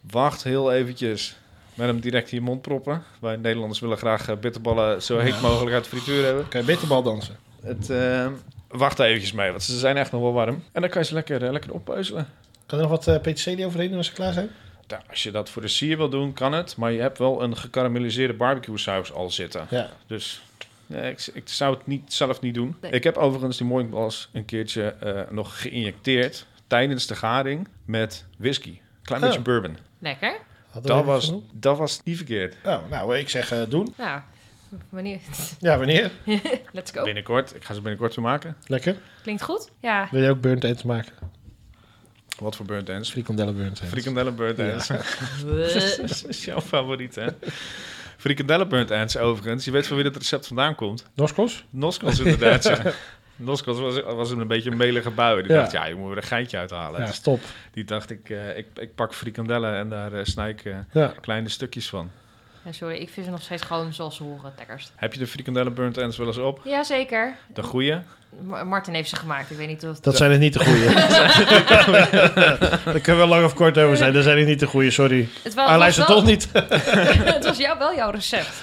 C: Wacht heel eventjes met hem direct in je mond proppen. Wij Nederlanders willen graag eh, bitterballen zo heet mogelijk uit de frituur hebben.
A: Kan je bitterbal dansen?
C: Het, eh, wacht daar eventjes mee, want ze zijn echt nog wel warm. En dan kan je ze lekker, eh, lekker oppeuzelen.
A: Kan er nog wat eh peterselie overheen doen als ze klaar zijn?
C: Nou, als je dat voor de sier wil doen, kan het. Maar je hebt wel een gekarameliseerde barbecue saus al zitten.
A: Ja.
C: Dus nee, ik, ik zou het niet, zelf niet doen.
B: Nee.
C: Ik heb overigens die mooikbals een keertje eh, nog geïnjecteerd tijdens de garing met whisky. Klein beetje
A: Oh.
C: bourbon.
B: Lekker.
A: Hadden we
C: Dat
A: even
C: was,
A: genoeg?
C: dat was niet verkeerd.
A: Nou, nou, ik zeg eh, doen.
B: Nou, wanneer?
A: Ja, wanneer?
B: Let's
A: Oh.
B: go.
C: Binnenkort, ik ga ze binnenkort weer maken.
A: Lekker.
B: Klinkt goed? Ja.
A: Wil je ook burnt ends maken?
C: Wat voor burnt ends?
A: Frikandellen burnt ends.
C: Frikandellen burnt
A: Ja.
C: ends. dat is jouw favoriet, hè? Frikandellen burnt ends, overigens. Je weet van wie dat recept vandaan komt.
A: Noskos?
C: Noskos, inderdaad. ja. Noskos was, was een beetje een melige bui. Die
A: Ja.
C: dacht, ja, je moet er een geintje uithalen.
A: Ja,
C: Dus
A: stop.
C: die dacht, ik, eh, ik, ik pak frikandellen en daar eh, snij ik eh,
A: Ja.
C: kleine stukjes van.
B: Ja, sorry, ik vind ze nog steeds gewoon zoals ze horen, lekkers.
C: Heb je de frikandellen burnt ends wel eens op?
B: Jazeker.
C: De goeie?
B: Ma- Martin heeft ze gemaakt. Ik weet niet of...
A: Dat zijn het niet de goeie. Daar kunnen we lang of kort over zijn. Dat zijn het niet de goeie, sorry.
B: Het Oh,
A: Hij
C: Ah,
B: was, was
A: luistert
B: wel-
A: toch niet.
B: het was jou, wel jouw recept.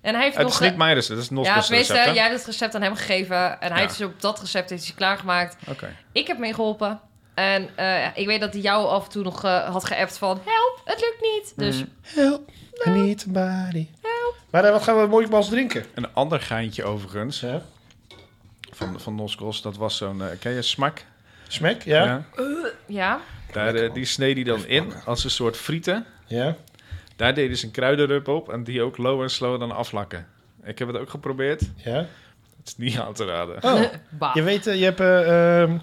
B: En hij heeft
C: Eh, het
B: nog...
C: is niet mijn recept, het is
B: ja,
C: Noskos
B: tenminste,
C: recept, hè?
B: jij hebt het recept aan hem gegeven. En hij
C: Ja.
B: heeft dus op dat recept heeft hij klaargemaakt.
C: Oké.
B: Ik heb meegeholpen. En eh, ik weet dat hij jou af en toe nog eh, had geappt van... Help, het lukt niet. Dus
A: Mm. Help, I need somebody. Maar eh, wat gaan we mooi bals drinken?
C: Een ander geintje, overigens,
A: Ja.
C: van, van Noskos, dat was zo'n... eh, ken je smak?
A: Smack, ja? Ja.
B: ja,
C: Daar, eh, die sneed hij dan in als een soort frieten. Daar deden ze een kruidenrup op en die ook low en slow dan aflakken. Ik heb het ook geprobeerd.
A: Ja.
C: Het is niet aan te raden.
A: Oh,
B: bah.
A: je weet, eh, je hebt... eh, ehm,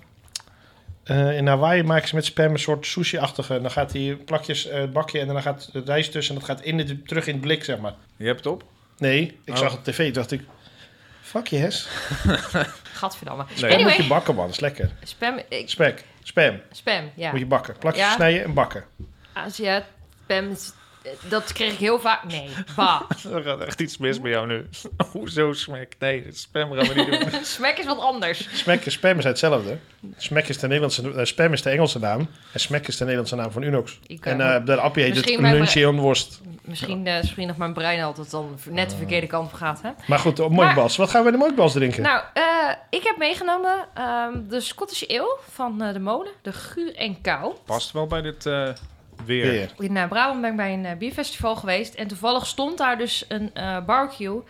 A: eh, in Hawaii maken ze met spam een soort sushi-achtige. En Dan gaat die plakjes eh, het bakje en dan gaat de rijst tussen. En dat gaat in de, terug in het blik, zeg maar.
C: Je hebt het op?
A: Nee, ik
C: Oh.
A: zag het op tv. dacht ik, fuck yes.
B: Gadverdamme.
C: Nee.
A: Spam moet
B: Anyway,
A: je bakken, man. Dat is lekker.
B: spam... Ik,
A: Spek, spam.
B: spam, ja.
A: Moet je bakken. Plakjes
B: Ja.
A: snijden en bakken.
B: Als je spam... Dat kreeg ik heel vaak... Nee, bah.
C: Er gaat echt iets mis bij jou nu. Hoezo smack? Nee, dat spam gaan we niet doen.
B: Smack is wat anders.
A: Smack, spam is hetzelfde. Smack is de Nederlandse, eh, spam is de Engelse naam. En smack is de Nederlandse naam van Unox.
B: Ik, eh,
A: En eh de appie heet
B: Misschien
A: het
B: bij-
A: Munchenworst.
B: Misschien, eh misschien nog mijn brein altijd dan net de verkeerde kant op gaat, hè?
A: Maar goed, op Moikbals. Wat gaan we in de Moikbals drinken?
B: Nou, eh, ik heb meegenomen ehm, de Scottish Ale van eh, de molen, de Guur en Kou.
C: Past wel bij dit eh, weer.
A: Weer.
B: In eh, Brabant ben ik bij een eh, bierfestival geweest en toevallig stond daar dus een eh, barbecue.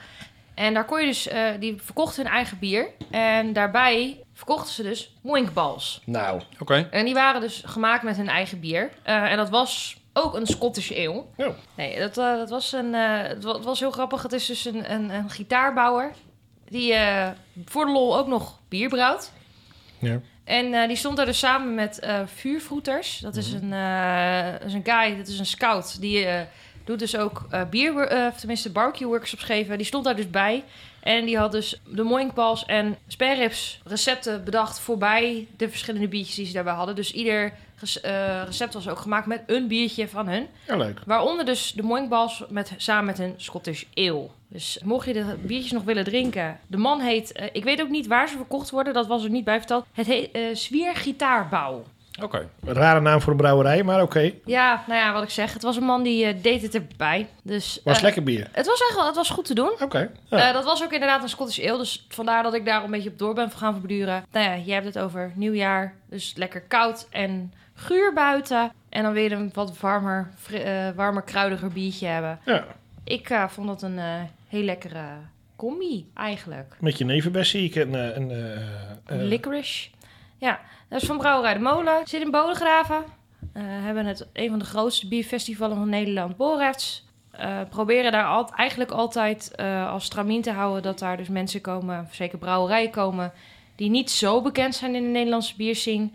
B: En daar kon je dus, eh, die verkochten hun eigen bier en daarbij verkochten ze dus moinkbals.
A: Nou,
C: Oké.
B: En die waren dus gemaakt met hun eigen bier. Eh, en dat was ook een Scottish ale.
A: Ja.
B: Nee, dat, eh, dat was een, eh, het wa- het was heel grappig. Het is dus een, een, een gitaarbouwer die eh, voor de lol ook nog bier brouwt.
A: Ja.
B: En eh, die stond daar dus samen met eh vuurvroeters. Dat is,
A: Mhm.
B: een, eh, dat is een guy, dat is een scout. Die eh, doet dus ook eh, bier, eh, of tenminste barbecue workshops geven. Die stond daar dus bij. En die had dus de moinkbals en spareribs recepten bedacht voorbij de verschillende biertjes die ze daarbij hadden. Dus ieder res- eh, recept was ook gemaakt met een biertje van hun.
A: ja, leuk.
B: Waaronder dus de Moinkbals met, samen met een Scottish ale. Dus mocht je de biertjes nog willen drinken. De man heet, eh, ik weet ook niet waar ze verkocht worden, dat was er niet bij verteld. Het heet eh Zwier Gitaarbouw.
C: Oké.
A: Een rare naam voor een brouwerij, maar oké.
B: Ja, nou ja, wat ik zeg. Het was een man die eh, deed het erbij. Dus,
A: Was
B: eh,
A: lekker bier.
B: Het was echt wel het was goed te doen.
A: Oké. Ja.
B: Eh, dat was ook inderdaad een Scottish ale. Dus vandaar dat ik daar een beetje op door ben gaan verduren. Nou ja, je hebt het over nieuwjaar. Dus lekker koud en guur buiten. En dan weer een wat warmer, fri- eh, warmer kruidiger biertje hebben.
A: ja.
B: Ik eh, vond dat een eh, heel lekkere combi eigenlijk.
A: Met je nevenbest zie ik een... eh, een eh, eh,
B: Licorice. Ja, dat is van Brouwerij de Molen. Zit in Bodegraven. Eh, hebben het een van de grootste bierfestivalen van Nederland, Borrefts. Eh, proberen daar al, eigenlijk altijd eh, als stramien te houden dat daar dus mensen komen, zeker brouwerijen komen, die niet zo bekend zijn in de Nederlandse bierscene.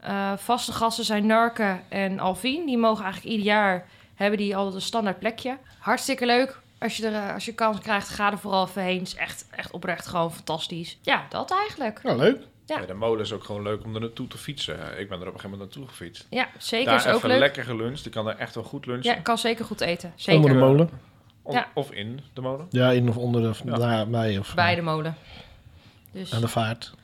B: Eh, vaste gasten zijn Narken en Alvin. Die mogen eigenlijk ieder jaar hebben die altijd een standaard plekje. Hartstikke leuk. Als je, er, eh, als je kans krijgt, ga er vooral even heen. Is echt, echt oprecht gewoon fantastisch. Ja, dat eigenlijk.
A: nou, leuk.
B: Ja.
C: Ja, de molen is ook gewoon leuk om er naartoe te fietsen. Eh, Ik ben er op een gegeven moment naartoe gefietst.
B: Ja, zeker.
C: daar
B: is ook
C: even
B: leuk.
C: lekker geluncht. Ik kan daar echt wel goed lunchen.
B: Ja, kan zeker goed eten. Zeker.
A: Onder de molen.
C: Of-
B: Ja.
C: Of in de molen.
A: Ja, in of onder de... Ja. bij of eh,
B: Bij de molen. Dus.
A: aan de vaart.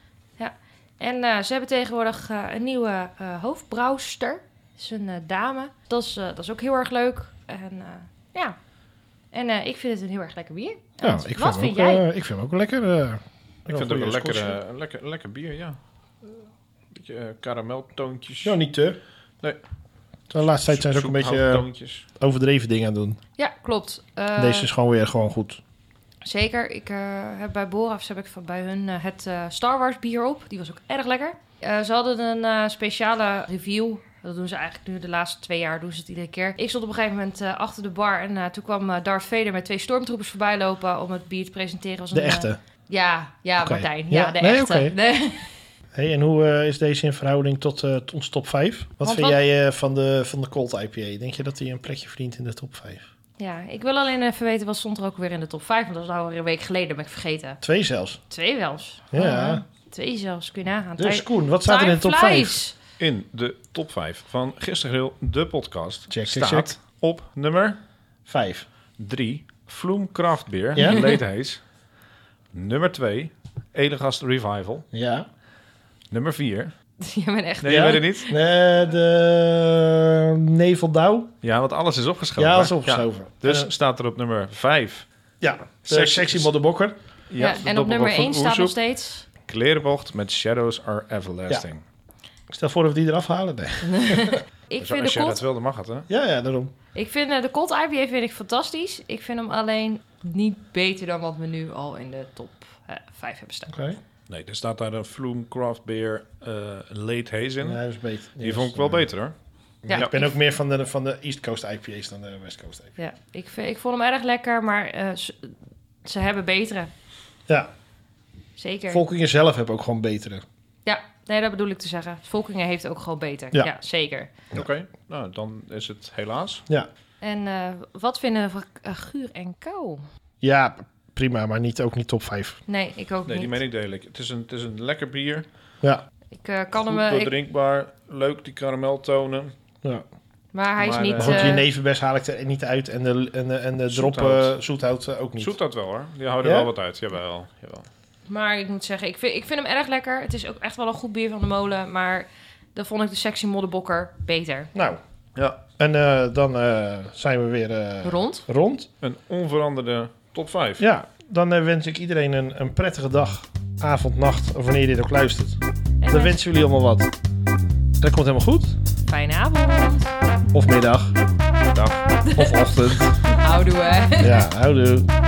B: En eh, ze hebben tegenwoordig eh, een nieuwe eh hoofdbrouwster. Dat is een eh, dame. Dat is, eh, dat is ook heel erg leuk. En eh, ja. En eh, ik vind het een heel erg lekker bier. En
A: Ja,
B: wat-
A: ik
B: wat
A: vind, hem
B: vind
A: ook,
B: jij?
A: eh, ik vind hem ook lekker. eh,
C: Ik
A: wel
C: vind het ook
A: goeie
C: een lekker,
A: Scotch.
C: eh, een lekker, een lekker bier, ja. Beetje eh, karameltoontjes.
A: Ja, niet te.
C: Nee.
A: De laatste tijd zijn ze ook een beetje
C: nou
A: eh,
C: Toontjes.
A: overdreven dingen aan het doen.
B: Ja, klopt. Eh,
A: Deze is gewoon weer gewoon goed.
B: Zeker. Ik eh, heb bij Borafs heb ik van bij hun eh, het eh, Star Wars bier op. Die was ook erg lekker. Eh, ze hadden een eh, speciale review. Dat doen ze eigenlijk nu de laatste twee jaar doen ze het iedere keer. Ik stond op een gegeven moment eh, achter de bar en eh, toen kwam eh, Darth Vader met twee stormtroopers voorbij lopen om het bier te presenteren. Was
A: De
B: een,
A: echte.
B: eh, ja, ja,
A: Oké.
B: Martijn. Ja,
A: Ja,
B: de
A: nee,
B: echte.
A: oké.
B: Nee.
A: Hey, en hoe eh, is deze in verhouding tot eh, t- ons top 5? Wat
B: Want
A: vind
B: wat-
A: jij eh, van, de, van de Cold IPA? Denk je dat hij een plekje verdient in de top 5?
B: Ja, ik wil alleen even weten wat stond er ook weer in de top 5. Want dat is nou weer een week geleden, dat ben ik vergeten.
A: Twee zelfs.
B: Twee zelfs.
A: Ja.
B: Ah, twee zelfs, kun je nagaan.
A: Dus
B: Tijd-
A: Koen, wat staat er in de
B: time
A: top 5?
B: flies.
C: In de top 5 van Gisteren Grill, de podcast,
A: Check, check,
C: staat op nummer
A: 5.
C: 3 Vloem Craft Beer,
A: Ja?
C: Late Haze. nummer 2 Elegast Revival.
A: Ja.
C: Nummer 4.
B: Je bent echt...
C: Nee,
A: Ja?
C: je weet het niet?
A: Eh, de Neveldauw.
C: Ja, want alles is opgeschoven.
A: Ja, dat is
C: hè?
A: opgeschoven.
C: Ja. Dus
A: Eh,
C: staat er op nummer 5.
A: ja, de
C: sexy-
A: sexy modderbokker.
B: Ja, en op nummer 1 staat nog steeds...
C: Klerenbocht met Shadows Are Everlasting.
A: Stel voor dat we die eraf halen. Nee.
C: Zo,
B: Ik vind,
C: Dus als
B: de
C: jij dat
B: cold,
C: wilde, mag het, hè?
A: Ja, ja, daarom.
B: ik vind eh, de cold IPA vind ik fantastisch. Ik vind hem alleen niet beter dan wat we nu al in de top 5 hebben staan.
A: Oké.
C: Nee, er staat daar een Vloem Craft Beer eh, Late Haze in.
A: Ja, dat is beter.
C: Die vond ik wel beter, hoor.
B: Ja,
A: Ik ben ook meer van de, van de East Coast IPA's dan de West Coast IPA's.
B: Ja, ik, vind, ik vond hem erg lekker, maar eh, ze, ze hebben betere.
A: Ja,
B: Zeker.
A: Volkingen zelf hebben ook gewoon betere.
B: ja, nee, dat bedoel ik te zeggen. Volkingen heeft ook gewoon beter.
A: Ja.
B: Ja, zeker.
C: Oké, nou, dan is het helaas.
A: Ja.
B: En eh, wat vinden we van eh, guur en kou?
A: ja, prima, maar niet, ook niet top 5.
B: Nee, ik ook
C: Nee, die
B: niet.
C: meen ik deel ik. Het is een, het is een lekker bier.
A: Ja,
B: Ik eh, kan
C: Goed
B: hem... eh, ik-
C: doordrinkbaar. Leuk, die karameltonen.
A: ja.
B: maar hij is
C: Maar,
B: niet...
A: Maar
C: eh,
A: goed,
B: eh,
A: die nevenbest haal ik er niet uit en de, en de, en de drop
C: Zoethout.
A: eh, zoethout eh, ook niet.
C: Zoet dat wel, hoor. Die houden
A: Ja?
C: wel wat uit. Jawel, jawel.
B: Maar ik moet zeggen, ik vind, ik vind hem erg lekker. Het is ook echt wel een goed bier van de molen. Maar dan vond ik de sexy modderbokker beter.
A: Nou,
C: Ja,
A: en eh, dan eh, zijn we weer eh,
B: Rond.
A: rond.
C: een onveranderde top 5.
A: Ja, dan eh, wens ik iedereen een, een prettige dag, avond, nacht, of wanneer je dit ook luistert.
B: En
A: Dan wensen jullie allemaal wat. Dat komt helemaal goed.
B: een fijne avond.
A: Of middag,
C: Dag.
A: of ochtend.
B: Houdoe. hè.
A: Ja, houdoe.